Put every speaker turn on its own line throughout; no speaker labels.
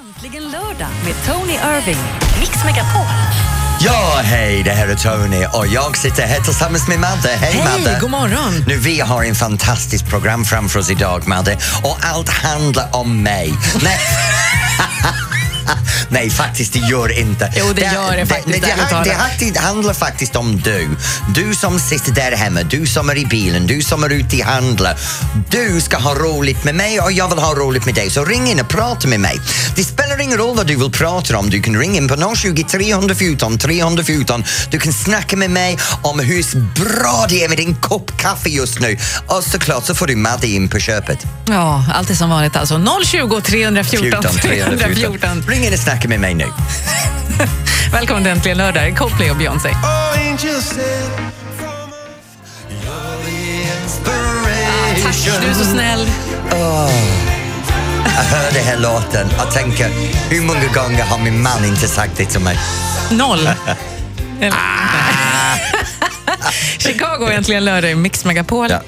Äntligen lördag med Tony Irving. Mix Megapol.
Ja, hej, det här är Tony och jag sitter här tillsammans med Madde. Hej, Madde!
god morgon!
Nu, vi har en fantastiskt program framför oss idag, Madde, och allt handlar om mig. Nej. Nej, faktiskt det gör inte.
Jo, det gör det faktiskt,
Det,
ärligt
det,
talat.
det, det handlar faktiskt om du. Du som sitter där hemma, du som är i bilen, du som är ute i handla. Du ska ha roligt med mig och jag vill ha roligt med dig. Så ring in och prata med mig. Det spelar ingen roll vad du vill prata om. Du kan ringa in på 020 314 314. Du kan snacka med mig om hur bra det är med din kopp kaffe just nu. Och såklart så får du Madde in på köpet.
Ja, allt är som vanligt alltså. 020 314 314.
Ring in och snacka med mig nu.
Välkommen till Äntligen lördag, Coldplay och Beyoncé. Tack, du är så snäll.
Jag hör den här låten och tänker, hur många gånger har min man inte sagt det till mig?
Noll. Eller- Ah. Chicago, Äntligen lördag i Mix Megapol.
Ja.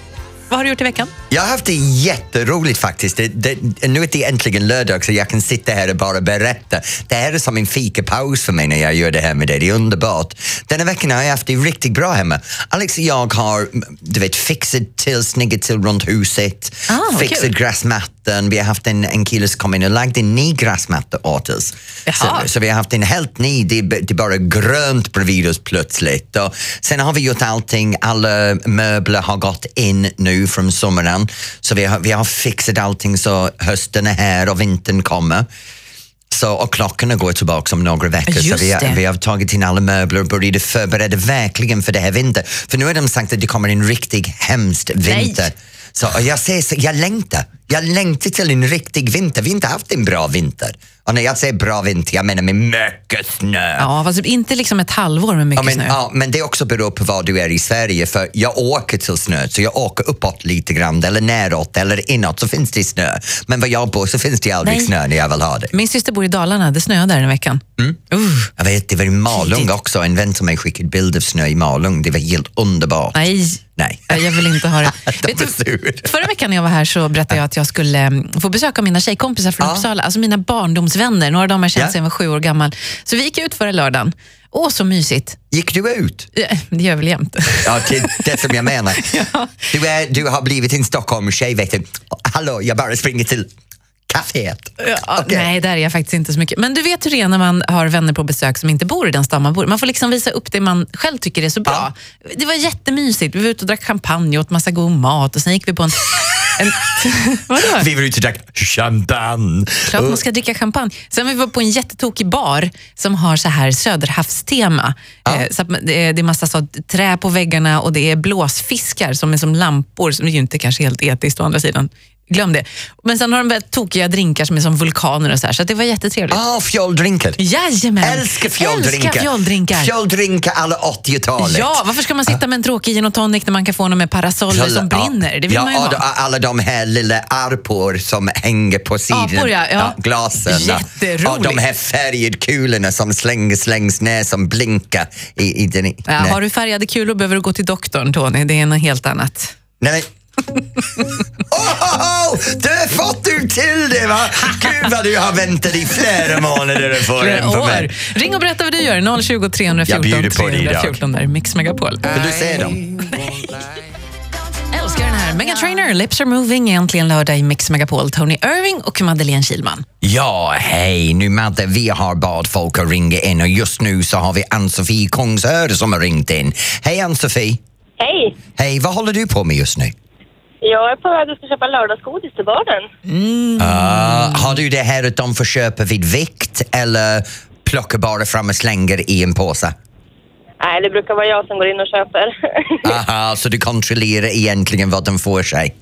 Vad har du gjort i veckan?
Jag har haft det jätteroligt faktiskt. Det, det, nu är det äntligen lördag så jag kan sitta här och bara berätta. Det här är som en fikapaus för mig när jag gör det här med dig. Det är underbart. Denna veckan har jag haft det riktigt bra hemma. Alex och jag har du vet, fixat till, snyggat till runt huset,
Ah,
fixat
kul.
gräsmattan. Vi har haft en, en kille som kom in och lagt en ny gräsmatta åt oss.
Jaha.
Så, så vi har haft en helt ny, det är, b- det är bara grönt bredvid oss plötsligt. Och sen har vi gjort allting, alla möbler har gått in nu från sommaren. Så vi har, vi har fixat allting så hösten är här och vintern kommer. Så, och klockorna går tillbaka om några veckor. så
Just
vi, har-
det.
vi har tagit in alla möbler och började förbereda verkligen för det här vintern. För nu har de sagt att det kommer en riktigt hemskt vinter. Så, och jag, säger så, jag längtar. Jag längtar till en riktig vinter. Vi har inte haft en bra vinter. Och när jag säger bra vinter, jag menar med mycket snö.
Ja, fast inte liksom ett halvår med
Ja,
mycket
men,
snö.
ja, men det också beror på var du är i Sverige. För Jag åker till snö, så jag åker uppåt lite grann, eller neråt eller inåt, så finns det snö. Men var jag bor så finns det aldrig
Nej.
snö när jag vill ha det.
Min syster bor i Dalarna, det snöade där den veckan.
Mm.
Uh,
Jag vet, det var i Malung också. En vän till mig skickade bild av snö i Malung. Det var helt underbart.
nej,
Nej.
Nej, Jag vill inte ha det.
De
Vet
är sur.
du, förra veckan när jag var här så berättade jag att jag skulle mm, få besöka mina tjejkompisar från
Ja.
Uppsala, alltså mina barndomsvänner. Några av dem har jag känt
Ja.
sedan jag var sju år gammal. Så vi gick ut förra lördagen. Åh, så mysigt.
Gick du ut?
Eh, Det gör jag väl jämt.
Ja, det, det som jag menar. Du, är, du har blivit en Stockholm-tjej, vet du. Hallå, jag bara springer till kaféet.
Ja,
Okej.
Nej, där är jag faktiskt inte så mycket. Men du vet hur det är när man har vänner på besök som inte bor i den stad man bor i. Man får liksom visa upp det man själv tycker är så bra. Det var jättemysigt. Vi var ute och drack champagne och åt massa god mat och sen gick vi på en... en vadå?
Vi var ute och drack champagne.
Klart man ska dricka champagne. Sen vi var på en jättetokig bar som har så här söderhavstema. Eh, Så att man- det är det är massa så trä på väggarna och det är blåsfiskar som är som lampor. Som det är ju inte kanske helt etiskt å andra sidan. Glöm det. Men sen har de väldigt tokiga drinkar som är som vulkaner och så här. Så att det var jättetrevligt.
Ah, fjoldrinkar.
Jajamän!
Älskar fjoldrinkar.
Älskar fjoldrinkar.
Fjoldrinkar alla 80-talet.
Ja, varför ska man sitta med en tråkig gin och tonic när man kan få någon med parasoller
Fjoll-
som brinner? Det vill
ja,
man ju
och
ha.
då- alla de här lilla arpor som hänger på sidan.
Apor, ja, ja.
glasen. ja.
Jätteroligt.
Och de här färgkulorna som slängs, slängs ner som blinkar. I, i den,
Ja, har du färgade kulor behöver du gå till doktorn, Tony. Det är något helt annat.
Nej, men... Ohoho! Du fått du till det va? Gud vad du har väntat i flera månader att få den
flera
på
år.
mig.
Ring och berätta vad du gör. 020 314
Jag bjuder på det idag.
314. Där är Mix Megapol.
Vill du se dem?
Älskar den här. Mega Trainer, Lips Are Moving, äntligen lördag i Mix Megapol. Tony Irving och Madeleine Kilman.
Ja, hej! Nu Madde, vi har bad folk att ringa in och just nu så har vi Ann-Sofie Kungsör som har ringt in. Hej Ann-Sofie!
Hej!
Hej, vad håller du på med just nu?
Jag är på väg att ska köpa lördagsgodis till barnen.
Ah, har du det här att de får köpa vid vikt eller plockar bara fram och slänger i en påse?
Nej, det brukar vara jag som går in och köper.
Aha, så du kontrollerar egentligen vad de får sig?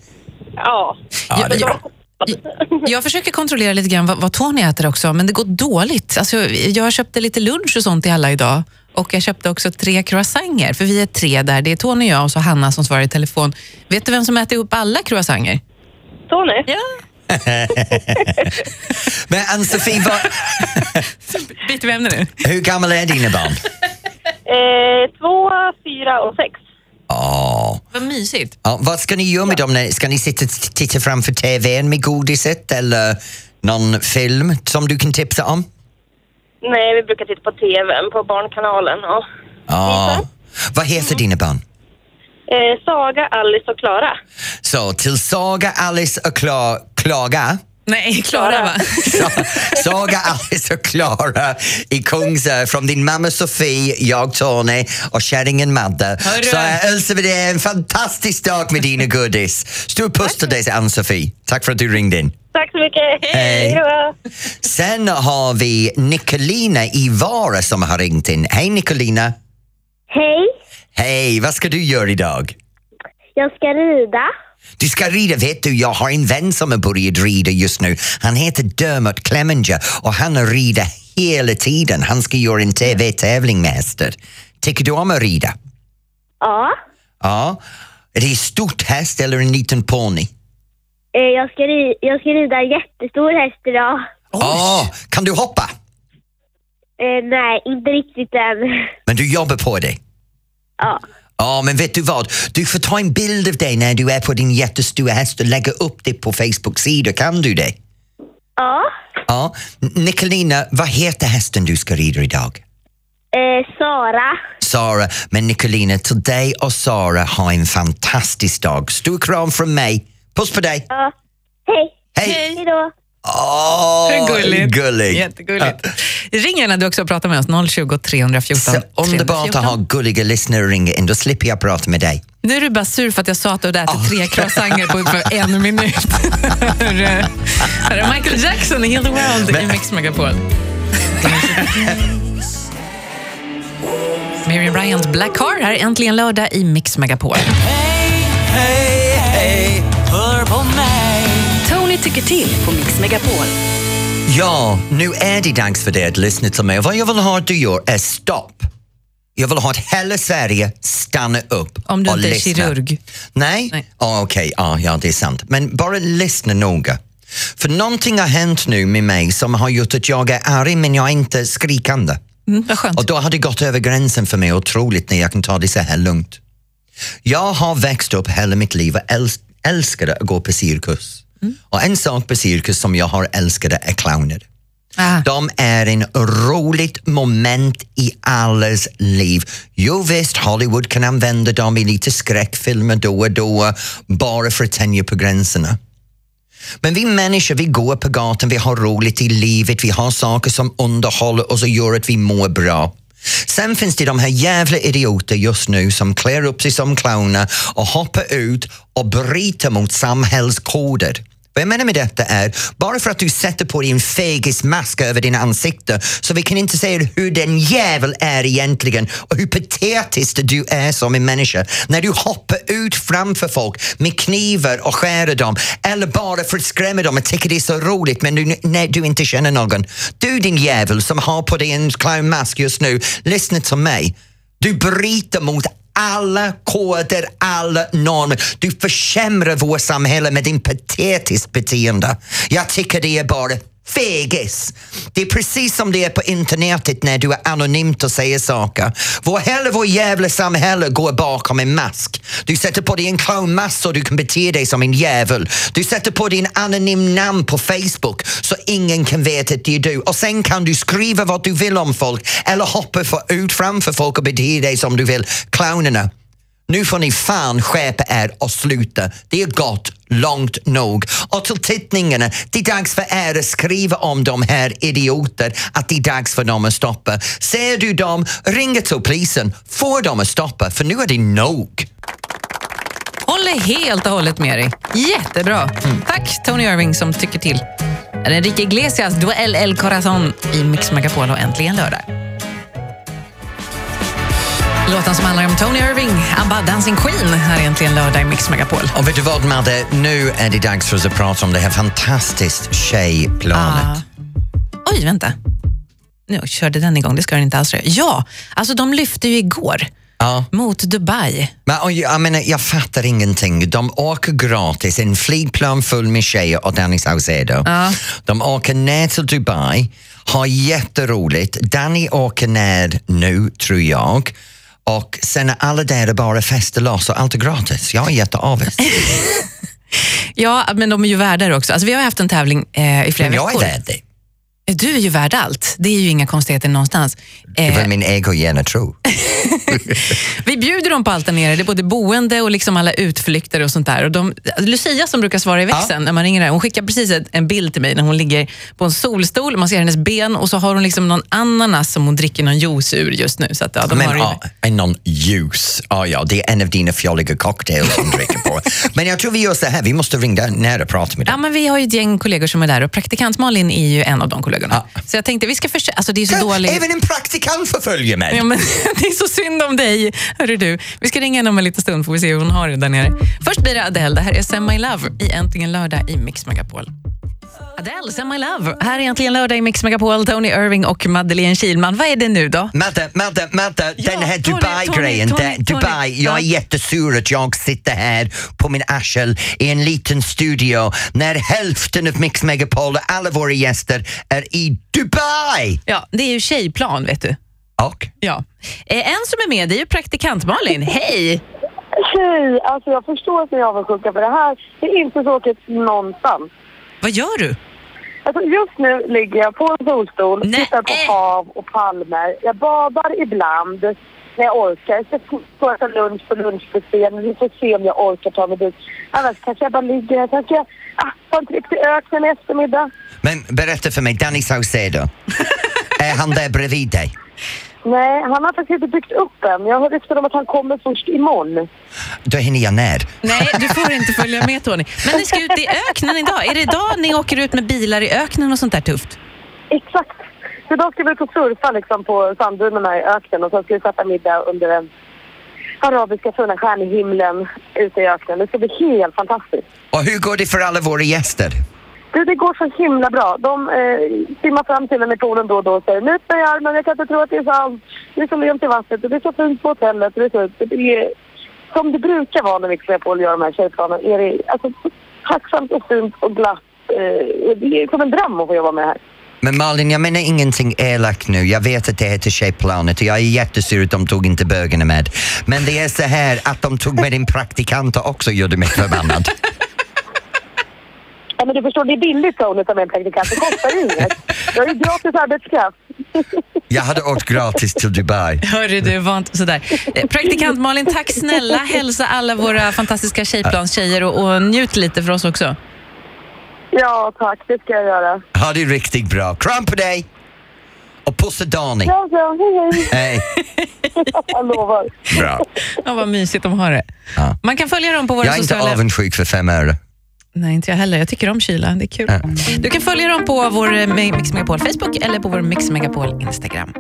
ja.
Ja, det är bra.
jag, jag, jag försöker kontrollera lite grann vad, vad Tony äter också, men det går dåligt. Alltså, jag köpte lite lunch och sånt till alla idag. Och jag köpte också tre croissanger, för vi är tre där. Det är Tony, jag och så Hanna som svarar i telefon. Vet du vem som äter ihop alla croissanger?
Tony?
Ja.
Men Ann-Sofie, vad,
Byter vi ämne nu?
hur gammal är dina barn?
Eh, två, fyra och sex.
Ja.
Vad mysigt.
Ja, vad ska ni göra med dem? när- Ska ni sitta och t- titta framför TVn med godiset eller Någon film som du kan tipsa om?
Nej, vi brukar titta på TVn, på Barnkanalen. Ja.
Ja. Vad heter dina barn?
Eh, Saga, Alice och Klara.
Så till Saga, Alice och Kla- Klaga.
Nej, Klara va?
Sa- Saga, Alice och Klara i Kungsör från din mamma Sofie, jag Tony och kärringen Madde.
Hörru.
Så jag hälsar vi dig en fantastisk dag med dina godis. Stor puss till dig Ann-Sofie. Tack för att du ringde in.
Tack så mycket.
Hej.
då.
Sen har vi Nicolina i Vara som har ringt in. Hej Nicolina!
Hej,
Hej, vad ska du göra idag?
jag ska rida.
Du ska rida, vet du, jag har en vän som har börjat rida just nu. Han heter Dermot Clemenger och han rider hela tiden. Han ska göra en TV-tävling med hästar. Tycker du om att rida?
Ja,
Ja. Är det en stort häst eller en liten ponny?
eh, jag ska, ri- jag ska rida en jättestor häst idag.
Ja, kan du hoppa?
Eh, nej, inte riktigt än.
Men du jobbar på det?
Ja,
Ja, men vet du vad? Du får ta en bild av dig när du är på din jättestora häst och lägga upp det på Facebook-sidor. Kan du det?
ja.
Ja. N- Nicolina, vad heter hästen du ska rida idag?
Eh, Sara.
Sara, men Nicolina, till dig och Sara, ha en fantastisk dag. Stor kram från mig. Puss på dig.
Ja. Hej,
Hej!
hej då.
Åh,
Hur gulligt.
gullig.
Jättegulligt. Ring gärna du också och prata med oss, 020 314
Så underbart att ha
314.
gulliga lyssnare ringa in, då slipper jag prata med dig.
Nu är du bara sur för att jag sa att du hade ätit tre croissanter på ungefär en minut. Hörru. Här är Michael Jackson i Heal the World i Mix Megapol. Miriam Bryant, Black Car, här är äntligen lördag i Mix Megapol.
Tony tycker till på Mix Megapol.
Ja, nu är det dags för dig att lyssna till mig. Vad jag vill ha att du gör är stopp. Jag vill ha att hela Sverige stannar upp
Om du
och
inte är
lyssnar.
kirurg.
Nej?
Nej.
Ah, Okej, ah, ja det är sant. Men bara lyssna noga. För någonting har hänt nu med mig som har gjort att jag är arg men jag är inte skrikande.
Mm, vad skönt.
Och då har det gått över gränsen för mig otroligt när jag kan ta det så här lugnt. Jag har växt upp hela mitt liv och äls- älskade att gå på cirkus. Och en sak på cirkus som jag har älskade är clowner.
Ah.
De är en roligt moment i allas liv. Jo visst, Hollywood kan använda dem i lite skräckfilmer då och då, bara för att tänja på gränserna. Men vi människor, vi går på gatan, vi har roligt i livet, vi har saker som underhåller oss och gör att vi mår bra. Sen finns det de här jävla idioter just nu som klär upp sig som clowner och hoppar ut och bryter mot samhällskoder. Vad jag menar med detta är, bara för att du sätter på dig en fegismask över din ansikte så vi kan inte säga hur den jävel är egentligen och hur patetisk du är som en människa när du hoppar ut framför folk med knivar och skära dem eller bara för att skrämma dem och tycker det är så roligt men du, när du inte känner någon. Du din jävel som har på dig en clownmask just nu, lyssna till mig. Du bryter mot alla koder, alla normer. Du försämrar vårt samhälle med din patetiskt beteende. Jag tycker det är bara fegis. Det är precis som det är på internetet när du är anonymt och säger saker. Vår, hela vår jävla samhälle går bakom en mask. Du sätter på dig en clownmask så du kan bete dig som en jävel. Du sätter på din anonym namn på Facebook så ingen kan veta att det är du. Och sen kan du skriva vad du vill om folk eller hoppa för, ut framför folk och bete dig som du vill. Clownerna. Nu får ni fan skärpa er och sluta. Det är gått långt nog. Och till tittningarna, det är dags för er att skriva om de här idioter, att det är dags för dem att stoppa. Ser du dem, ringa till polisen, få dem att stoppa, för nu är det nog.
Håller helt och hållet med dig. Jättebra.
Mm.
Tack Tony Irving som tycker till. Enrique Iglesias Duell El Corazon i Mix Megapol och äntligen lördag. Låten som handlar om Tony Irving, ABBA Dancing Queen, här är äntligen lördag i Mix Megapol.
Och vet du vad Madde, nu är det dags för oss att prata om det här fantastiskt tjejplanet.
Ah. Oj, vänta. Nu körde den igång, det ska den inte alls göra. Ja, alltså de lyfte ju igår
Ja.
mot Dubai.
Men, och jag, jag menar, jag fattar ingenting. De åker gratis, en flygplan full med tjejer och Danny Saucedo.
Ja.
De åker ner till Dubai, har jätteroligt. Danny åker ner nu, tror jag. Och sen är alla där och bara festar loss och allt är gratis. Jag är jätteavis.
Ja, men de är ju värdar också. Alltså, vi har haft en tävling eh, i flera
Men jag är
veckor.
värdig.
Du är ju värd allt. Det är ju inga konstigheter någonstans.
Det är
Eh,
väl min egogena tro.
Vi bjuder dem på allt där nere. Det är både boende och liksom alla utflykter och sånt där. Och de, Lucia som brukar svara i växeln när man ringer här, hon skickar precis ett- en bild till mig när hon ligger på en solstol, man ser hennes ben och så har hon liksom någon ananas som hon dricker någon juice ur just nu. Så att, ja, de har
Men
ju...
ja, en någon ljus. Ja, ja, det är en av dina fjolliga cocktails som dricker på. Men jag tror vi gör så här, vi måste ringa ner och prata med
Ja,
dem.
men vi har ju ett gäng kollegor som är där och praktikant Malin är ju en av de kollegorna.
Ja.
Så jag tänkte vi ska försöka, alltså det är så dåligt.
Även en praktikant förföljer mig.
Ja, men, det är så synd om dig. Hörru du, vi ska ringa henne om en liten stund får vi se hur hon har det där nere. Först blir det Adele. Det här är Send My Love i Äntligen Lördag i Mix Megapol. Adele, Send My Love. Här är Äntligen Lördag i Mix Megapol. Tony Irving och Madeleine Kilman. Vad är det nu då?
Madde, Madde, Madde,
Ja,
den här
Tony,
Dubai-grejen.
Tony,
där-
Tony, Tony.
Dubai, jag är
Ja.
jättesur att jag sitter här på min arsel i en liten studio när hälften av Mix Megapol och alla våra gäster är i Dubai!
Ja, det är ju tjejplan vet du.
Och?
Ja. Eh, en som är med det är ju praktikant Malin. Hej!
Tjej, alltså jag förstår att ni är avundsjuka för det här det är inte tråkigt någonstans.
Vad gör du?
Alltså just nu ligger jag på en solstol,
Nej.
tittar på hav och palmer. Jag badar ibland när jag orkar. Jag ska få äta lunch på lunchbuffén. Vi får se om jag orkar ta mig dit. Annars kanske jag bara ligger här. Kanske jag ah, tar en tripp till öknen i eftermiddag.
Men berätta för mig, Danny Saucedo, är han där bredvid dig?
Nej, han har faktiskt inte byggt upp än. Jag har rykten om att han kommer först imorgon.
Då hinner jag ner.
Nej, du får inte följa med Tony. Men ni ska ut i öknen idag. Är det idag ni åker ut med bilar i öknen och sånt där tufft?
Exakt. Så då ska vi ut och surfa liksom på sanddynerna i öknen och sen ska vi sätta middag under den arabiska fina stjärnhimlen ute i öknen. Det ska bli helt fantastiskt.
Och hur går det för alla våra gäster?
Du, det går så himla bra. De eh, simmar fram till en i poolen då och då och säger nu tar jag armen, jag kan inte tro att det är sant. Det är så lugnt i vattnet och det är så fint på hotellet. och Det är, så, det är som det brukar vara när Mix Megapol gör de här tjejplanen. Är det alltså, tacksamt och fint och glatt. Eh, det är som en dröm att få jobba med här.
Men Malin, jag menar ingenting elakt nu. Jag vet att det heter Tjejplanet och jag är jättesur att de tog inte bögarna med. Men det är så här att de tog med din praktikant och också gjorde mig förbannad.
Ja, men du förstår, det är billigt Tony som är en praktikant. Det kostar inget. Jag är ju gratis arbetskraft.
Jag hade åkt gratis till Dubai.
Hörru du, var inte sådär. Eh, Praktikant Malin, tack snälla. Hälsa alla våra fantastiska tjejplanstjejer och, och njut lite för oss också.
Ja, tack. Det ska jag göra.
Ha det riktigt bra. Kram på dig! Och pussa Dani.
Ja, ja. Hej, hej.
Hej.
Jag lovar.
Bra.
Ja, vad mysigt de har det.
Ja.
Man kan följa dem på våra
Jag är inte
sociala...
avundsjuk för fem öre.
Nej, inte jag heller. Jag tycker om kyla. Det är kul.
Ja.
Du kan följa dem på vår eh, Mi- Mix Megapol Facebook eller på vår Mix Megapol Instagram.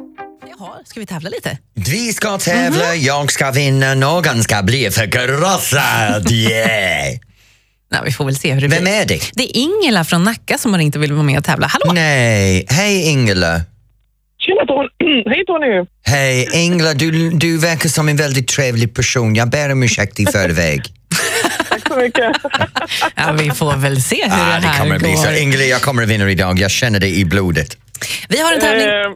Jaha, ska vi tävla lite?
Vi ska tävla, jag ska vinna, någon ska bli förkrossad. Yeah.
Nej, vi får väl se hur det
Vem
blir.
är det?
Det är Ingela från Nacka som har ringt och vill vara med och tävla. Hallå!
Nej, hej Ingela.
Tjena Tony! Hej Tony!
Hej Ingela, du, du verkar som en väldigt trevlig person. Jag ber om ursäkt i förväg.
Tack så mycket.
Ja, vi får väl se hur
ah,
det
det
här
kommer att bli så.
går.
Ingela, jag kommer att vinna idag. Jag känner det i blodet.
Vi har en tävling.
Eh,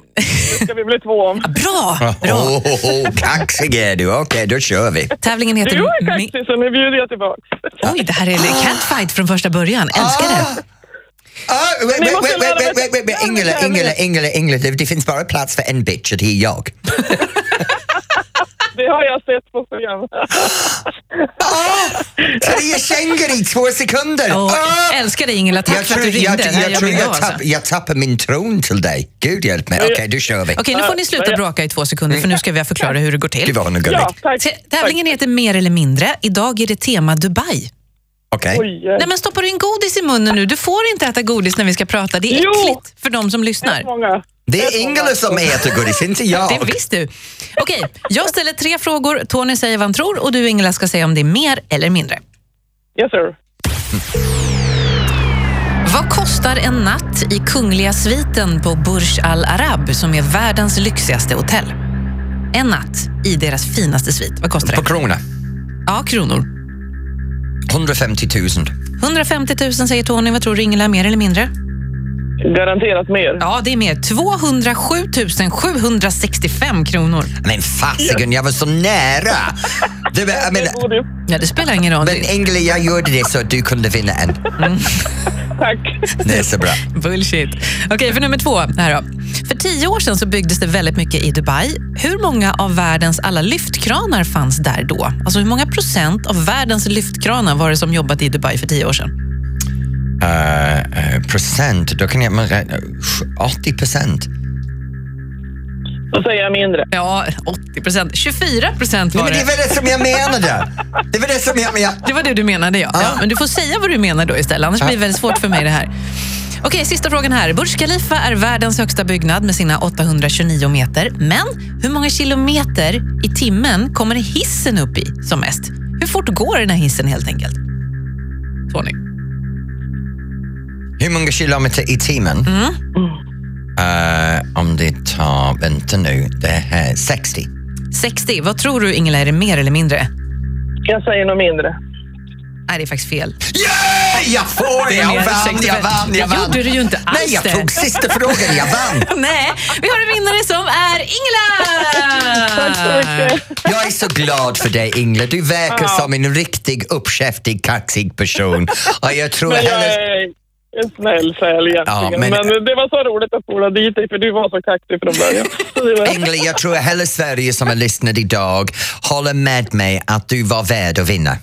det ska vi bli två om.
Bra!
Åh,
Bra!
oh, kaxig är du. Okej, då kör vi.
Tävlingen heter...
Du är
Mi-
kaxig så nu bjuder jag tillbaks.
Oj, det här är en catfight från första början. Älskar det.
Ah, ah, wait,
Ni
wait,
måste
wait, wait,
lära
wait, wait, wait,
mig-
wait. Ingela, Ingela, Ingela, Ingela, det, det finns bara plats för en bitch och det är jag.
Det har jag sett på program.
Ah, tre kängor i två sekunder!
Åh,
Ah!
älskar dig Ingela, tack
Jag
för att
tror
du
jag,
ringde.
jag,
Det här gör
tror
mig
jag,
glad,
tapp,
alltså.
jag tappar min tron till dig. Gud hjälp mig. Okej, då kör vi.
Okej, nu får ni sluta
Ja.
bråka i två sekunder för nu ska vi
Ah.
förklara hur det går
Det
till.
var nog gulligt.
Ja, tack.
T- Tävlingen heter Mer eller mindre. Idag är det tema Dubai.
Okej.
Oj, eh,
Nej men stoppar du in godis i munnen nu? Du får inte äta godis när vi ska prata. Det är
Jo!
äckligt för de som lyssnar.
många.
Det är Ingela som äter godis, inte jag.
Det visste du. Okej, jag ställer tre frågor. Tony säger vad han tror och du Ingela ska säga om det är mer eller mindre.
Yes sir.
Vad kostar en natt i kungliga sviten på Burj Al Arab som är världens lyxigaste hotell? En natt i deras finaste svit, vad kostar
På
det?
krona.
Ja, kronor.
150 000.
150 000 säger Tony, vad tror du Ingela, mer eller mindre?
Garanterat mer.
Ja, det är mer. 207 765 kronor.
Men fasiken, jag var så nära! Du, men, jag menar,
God jul.
Ja, det spelar ingen roll.
men Ingela, jag gjorde det så att du kunde vinna en.
Tack.
Det är så bra.
Bullshit. Okej, för nummer två. Här då. För tio år sedan så byggdes det väldigt mycket i Dubai. Hur många av världens alla lyftkranar fanns där då? Alltså hur många procent av världens lyftkranar var det som jobbat i Dubai för tio år sedan?
Eh, eh, procent, då kan jag... men, eh, 80 procent.
Då säger jag mindre.
Ja, 80 procent. 24 procent
Nej,
var
men det
det.
var det som jag menade. Det var det som jag menade.
Det var det du menade, ja. ja. Men du får säga vad du menar då istället, annars blir det väldigt svårt för mig det här. Okej, sista frågan här. Burj Khalifa är världens högsta byggnad med sina 829 meter. Men hur många kilometer i timmen kommer hissen upp i som mest? Hur fort går den här hissen helt enkelt? Tony?
Hur många kilometer i timmen?
Mm.
Eh, om det tar, vänta nu, det här, 60.
60. Vad tror du Ingela, är det mer eller mindre?
Jag säger nog mindre.
Nej, det är faktiskt fel.
Yeah! Jag får det! Jag vann, jag vann, jag
Det
vann!
gjorde du ju inte alls
Nej, jag
det.
tog sista frågan, jag vann!
Nej, vi har en vinnare som är
Tack så
Ingela!
mycket.
Jag är så glad för dig Ingela, du verkar som en riktig uppkäftig, kaxig person. Och jag tror
Men jag
hennes...
är en snäll säl egentligen.
Ja, men-
men... det var så roligt att spola dit dig, för du var så kaxig från början. Så det var...
Ingela, jag tror hela Sverige som har lyssnat idag håller med mig att du var värd att vinna.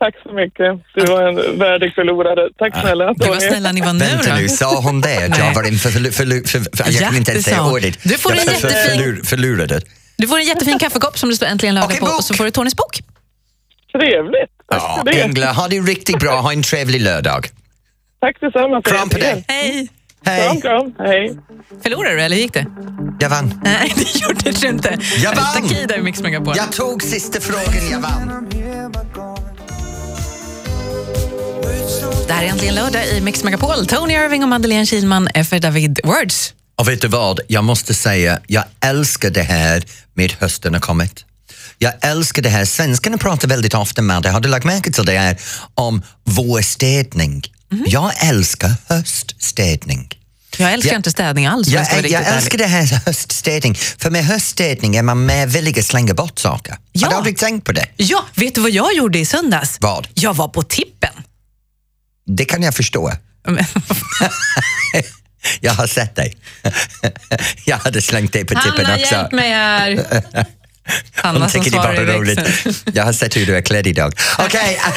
Tack så mycket. Du var en värdig förlorare. Tack snälla.
Gud vad
Tony.
snälla ni var nu
Vänta
då.
nu, sa hon det? Att
Nej.
jag var en för, för, för, för, för, Jag
Ja,
kan inte ens
det
säga
sa hon.
ordet.
Du får en
Jag för-
jättefin-
förlur- Förlurade.
Du får en jättefin kaffekopp som det står äntligen lördag
Och en
på
bok.
och så får du Tonys bok.
Trevligt. Tack
Ja,
för det.
Ingela, ha det riktigt bra. Ha en trevlig lördag.
Tack detsamma. för
Kram på
er.
dig.
Hej!
Kram,
Hej,
kram. Hej.
Förlorade Mm. du eller gick det?
jag vann.
Nej, det gjorde du inte.
Jag vann!
Takida i Mix Megapol.
Jag tog sista frågan, jag vann.
Det här är äntligen lördag i Mix Megapol. Tony Irving och Madeleine Kilman är för David Words.
Och vet du vad, jag måste säga, jag älskar det här med hösten har kommit. Jag älskar det här, svenskarna pratar väldigt ofta med, det har du lagt märke till det här, om vårstädning.
Mhm.
Jag älskar höststädning.
Jag älskar
Ja.
inte städning alls. om
Jag,
ska vara
jag,
riktigt ärlig.
älskar det här höststädning, för med höststädning är man mer villig att slänga bort saker.
Ja.
Har du aldrig tänkt på det?
Ja, vet du vad jag gjorde i söndags?
Vad?
Jag var på tippen.
Det kan jag förstå.
Men-
Jag har sett dig. jag hade slängt dig på tippen
Hanna,
också.
hjälp mig här! Hanna
Hon
som
tycker det är
svarar i
bara roligt.
växeln.
Jag har sett hur du är klädd idag. Okej, ah,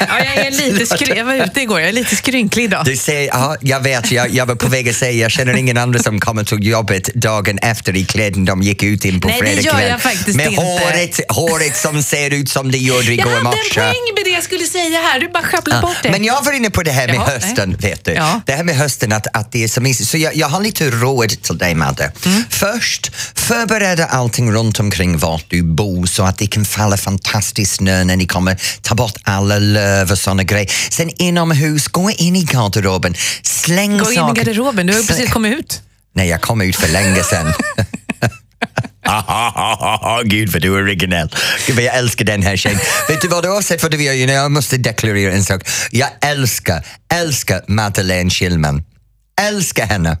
Ja, jag, är lite skry- jag var ute igår, jag är lite skrynklig idag.
du säger, ja, jag vet, jag, jag var på väg att säga, jag känner ingen annan som kommer till jobbet dagen efter i kläden de gick ut in på
Nej, det
fredag
gör
kväll.
jag faktiskt
Med
inte.
håret, håret som ser ut som det gjorde
Jag
igår
hade en
morse.
poäng med det jag skulle säga här, du bara sjabblade bort det.
Men jag var inne på det här med
Jaha,
hösten, vet du.
Ja.
Det här med hösten, att, att det är så mysigt. Så jag, jag har lite råd till dig, Madde.
Mm.
Först, förbereda allting runt omkring vart du bor så att det kan falla fantastisk snö när ni kommer. Ta bort alla löv och såna grejer. Sen inomhus, gå in i garderoben, släng
Gå in i
saker-
garderoben, du har ju
Släng-
precis kommit ut.
Nej, jag kom ut för länge sedan. Gud vad du är originell. Gud vad jag älskar den här tjejen. Vet du vad du har sett vad du gör? You know, jag måste deklarera en sak. Jag älskar, älskar Madeleine Schillman. Älskar henne.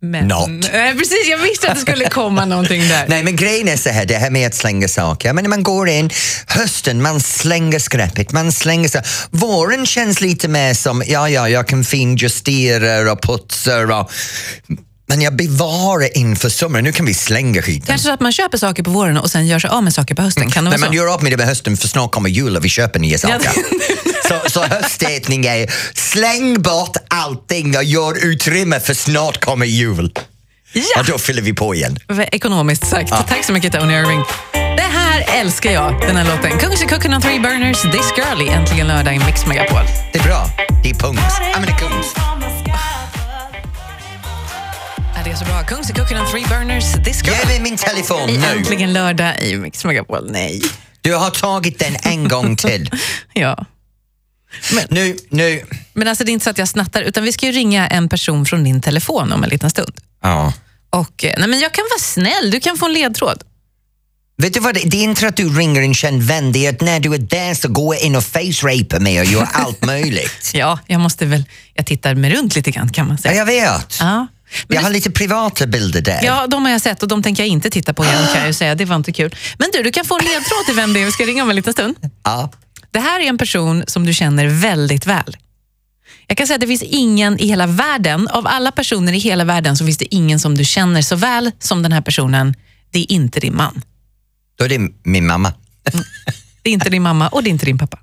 Men,
Not.
Nej, precis, jag visste att det skulle komma någonting där.
Nej men grejen är så här, det här med att slänga saker. Men när man går in, hösten, man slänger skräpet, man slänger så. Våren känns lite mer som, ja ja, jag kan finjustera och putsa och... Men jag bevarar inför sommaren, nu kan vi slänga skiten.
Kanske så att man köper saker på våren och sen gör sig av med saker på hösten. Kan det
Mm. Nej,
vara
men
så?
gör upp med det med hösten för snart kommer jul och vi köper nya saker. så, så höstätning är släng bort allting och gör utrymme för snart kommer jul.
Ja!
Och då fyller vi på igen.
Ekonomiskt sagt. Tack så mycket Tony Irving. Det här älskar jag, den här låten. Kungs och Cooking on Three Burners, This Girl i Äntligen lördag i Mix Megapol.
Det är bra. Det är punkt. Ja, men det är punkt.
Ja, det är så bra. Kungs och Cooking on Three Burners, This Girl.
Ge mig min telefon
I
nu.
Äntligen lördag i Mix Megapol. Nej.
Du har tagit den en gång till.
Ja.
Nu, nu.
Men alltså det är inte så att jag snattar, utan vi ska ju ringa en person från din telefon om en liten stund.
Ja.
Och, eh, nej men jag kan vara snäll, du kan få en ledtråd.
Vet du vad, det det är inte att du ringer en känd vän, det är att när du är där så går jag in och face-rapar mig och gör allt möjligt.
Ja, jag måste väl, jag tittar mig runt lite grann kan man
Ja,
säga.
jag vet.
Ja.
jag har lite privata bilder där.
Ja, de har jag sett och de tänker jag inte titta på igen kan jag ju säga. Det var inte kul. Men du, du kan få en ledtråd till vem det är. Vi ska ringa om en liten stund.
Ja.
Det här är en person som du känner väldigt väl. Jag kan säga att det finns ingen i hela världen, av alla personer i hela världen så finns det ingen som du känner så väl som den här personen. Det är inte din man,
Då är det min mamma.
det är inte din mamma och det är inte din pappa.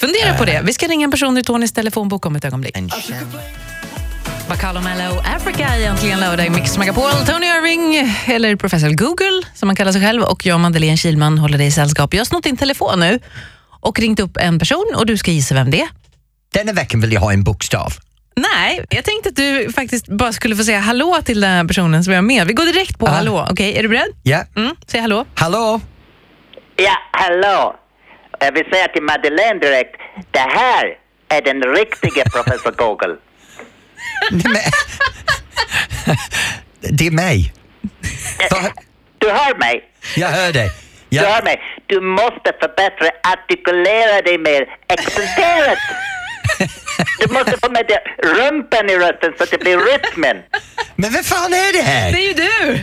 Fundera på det. Vi ska ringa en person ur Tonys telefonbok om ett ögonblick.
En känd-
Bacalo Mello Africa i Äntligen lördag i Mix Megapol. Tony Irving, eller Professor Google som han kallar sig själv, och jag, Madeleine Kilman, håller dig i sällskap. Jag har snott din telefon nu och ringt upp en person och du ska gissa vem det är.
Denna veckan vill jag ha en bokstav.
Nej, jag tänkte att du faktiskt bara skulle få säga hallå till den här personen som jag är med. Vi går direkt på hallå. Okej, är du beredd?
Ja.
Mm, säg hallå.
Hallå?
Ja, hallå. Jag vill säga till Madeleine direkt, det här är den riktiga professor Google.
Nej, men... det är mig. Va?
Du hör mig?
Jag hör dig.
Du
Jag...
hör mig? Du måste förbättra, artikulera dig mer, accentuera. Du måste få med det rumpen i rösten så det blir rytmen.
Men vem fan är det
Det
här?
är ju du!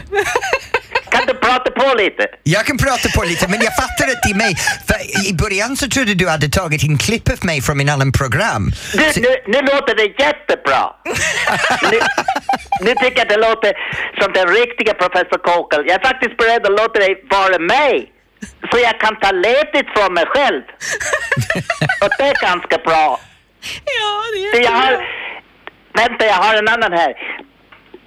Kan du prata på lite?
Jag kan prata på lite men jag fattar att det är mig. För I början så trodde du hade tagit en klipp av mig från min annan program.
Du, nu, nu låter det jättebra. Nu, nu tycker jag det låter som den riktiga professor Kokel. Jag är faktiskt beredd att låta dig vara mig. Så jag kan ta ledigt från mig själv. Och det är ganska bra.
Ja, det är
Du, jag
jättebra.
har... Vänta, jag har en annan här.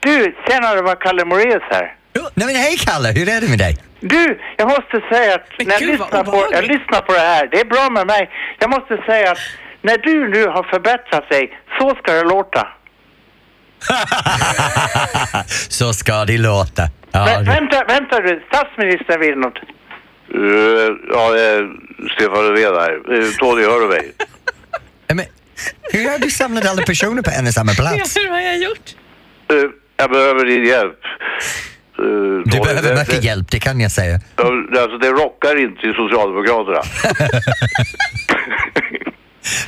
Du, senare var Kalle Moraeus här.
Nej men hej Kalle, hur är det med dig?
Du, jag måste säga att
Men
när jag
gud, vad
lyssnar, på, jag
obehagligt.
lyssnar på det här, det är bra med mig. Jag måste säga att när du nu har förbättrat dig, så ska det låta.
Så ska det låta. Ja,
Vä-
det-
vänta, vänta du, statsministern vill något.
Eh, ja, Stefan Löfven här. Eh, Tony, hör du mig?
Nej, men, hur har du samlat alla personer på en och samma plats?
Hur har jag gjort?
Eh, jag behöver din hjälp. Eh,
Du behöver mycket hjälp, det kan jag säga.
Alltså, det rockar inte i Socialdemokraterna.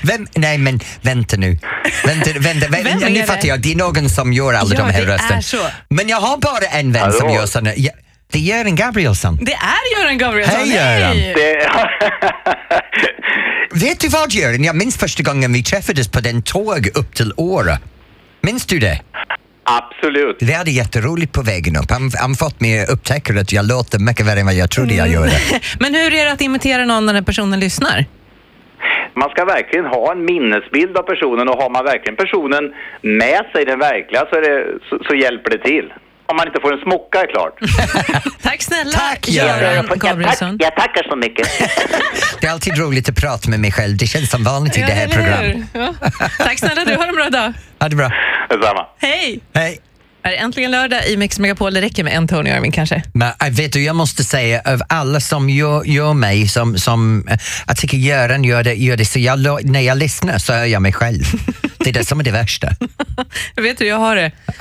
Vem, nej men vänta nu. Vänta, vänta, vä-
Vem är
nu
det?
fattar jag, det är någon som gör alla
Ja,
de här
det är
rösterna.
så.
Men jag har bara en vän
Hallå?
som gör såna. Ja, det är Göran Gabrielsson.
Det är Göran Gabrielsson.
Hej, Göran.
Det,
Vet du vad Göran, jag minns första gången vi träffades på den tåg upp till Åre. Minns du det?
absolut.
Vi hade jätteroligt på vägen upp. Han, han fått mig att upptäcka att jag låter mycket värre än vad jag trodde jag
Mm.
gjorde.
Men hur är det att imitera någon när den personen lyssnar?
Man ska verkligen ha en minnesbild av personen och har man verkligen personen med sig, den verkliga, så, är det, så, så hjälper det till. Om man inte får en smocka, är klart.
Tack snälla
Tack, Göran.
Göran
Jag, tack,
Gabrielsson.
jag tackar så mycket.
Det är alltid roligt att prata med mig själv. Det känns som vanligt i det här
eller hur?
programmet.
Ja. Tack snälla du, ha en bra dag.
Ha det bra.
Detsamma.
Hej!
Hej.
Är det äntligen lördag i Mix Megapol? Det räcker med en Tony Irving kanske.
Men äh, vet du, jag måste säga av alla som gör, gör mig, som, som äh, jag tycker Göran gör det, gör det så jag, lo- när jag lyssnar så hör jag mig själv. Det är det som är det värsta.
Jag vet hur jag har det.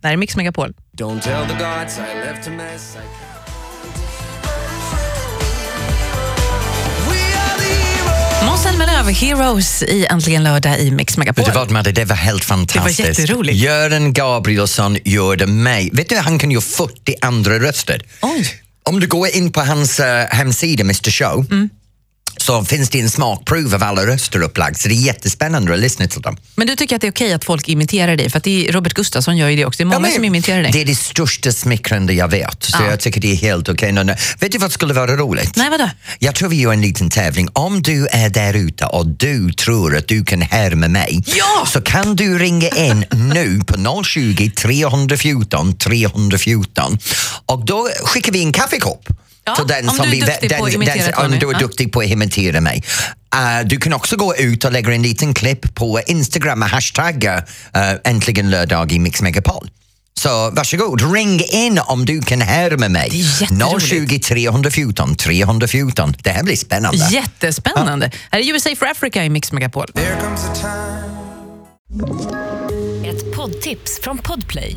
det här är Mix Megapol.
Don't tell the gods I left a mess. I-
Måns Zelmerlöw, Heroes i Äntligen lördag i Mix Megapol.
Vet du vad Madde, det var helt fantastiskt.
jätteroligt.
Göran Gabrielsson gjorde mig. Vet du, han kan göra 40 andra röster.
Oj.
Om du går in på hans eh, hemsida, Mr Show, så finns det en smakprov av alla röster upplagd, så det är jättespännande att lyssna till dem.
Men du tycker att det är okej att folk imiterar dig? För att det är Robert Gustafsson gör ju det också. Det är många
Ja, men
som imiterar dig.
Det är det största smickrande jag vet, så
Ja.
jag tycker det är helt okej. Nå, nå. Vet du vad skulle vara roligt?
Nej, vadå?
Jag tror vi gör en liten tävling. Om du är där ute och du tror att du kan härma mig
Ja!
så kan du ringa in nu på 020 314 314 och då skickar vi en kaffekopp.
Ja,
till den
om
som
du är
vi-
duktig på att imitera Tony.
Om du är
Ja.
duktig på att imitera mig. Eh, du kan också gå ut och lägga en liten klipp på Instagram med hashtagga uh, äntligen lördag i Mix Megapol. Så varsågod, ring in om du kan härma mig.
Det är jätteroligt.
020 314 314. Det här blir spännande.
Jättespännande. Här är USA for Africa i Mix Megapol.
There comes a time.
Ett poddtips från Podplay.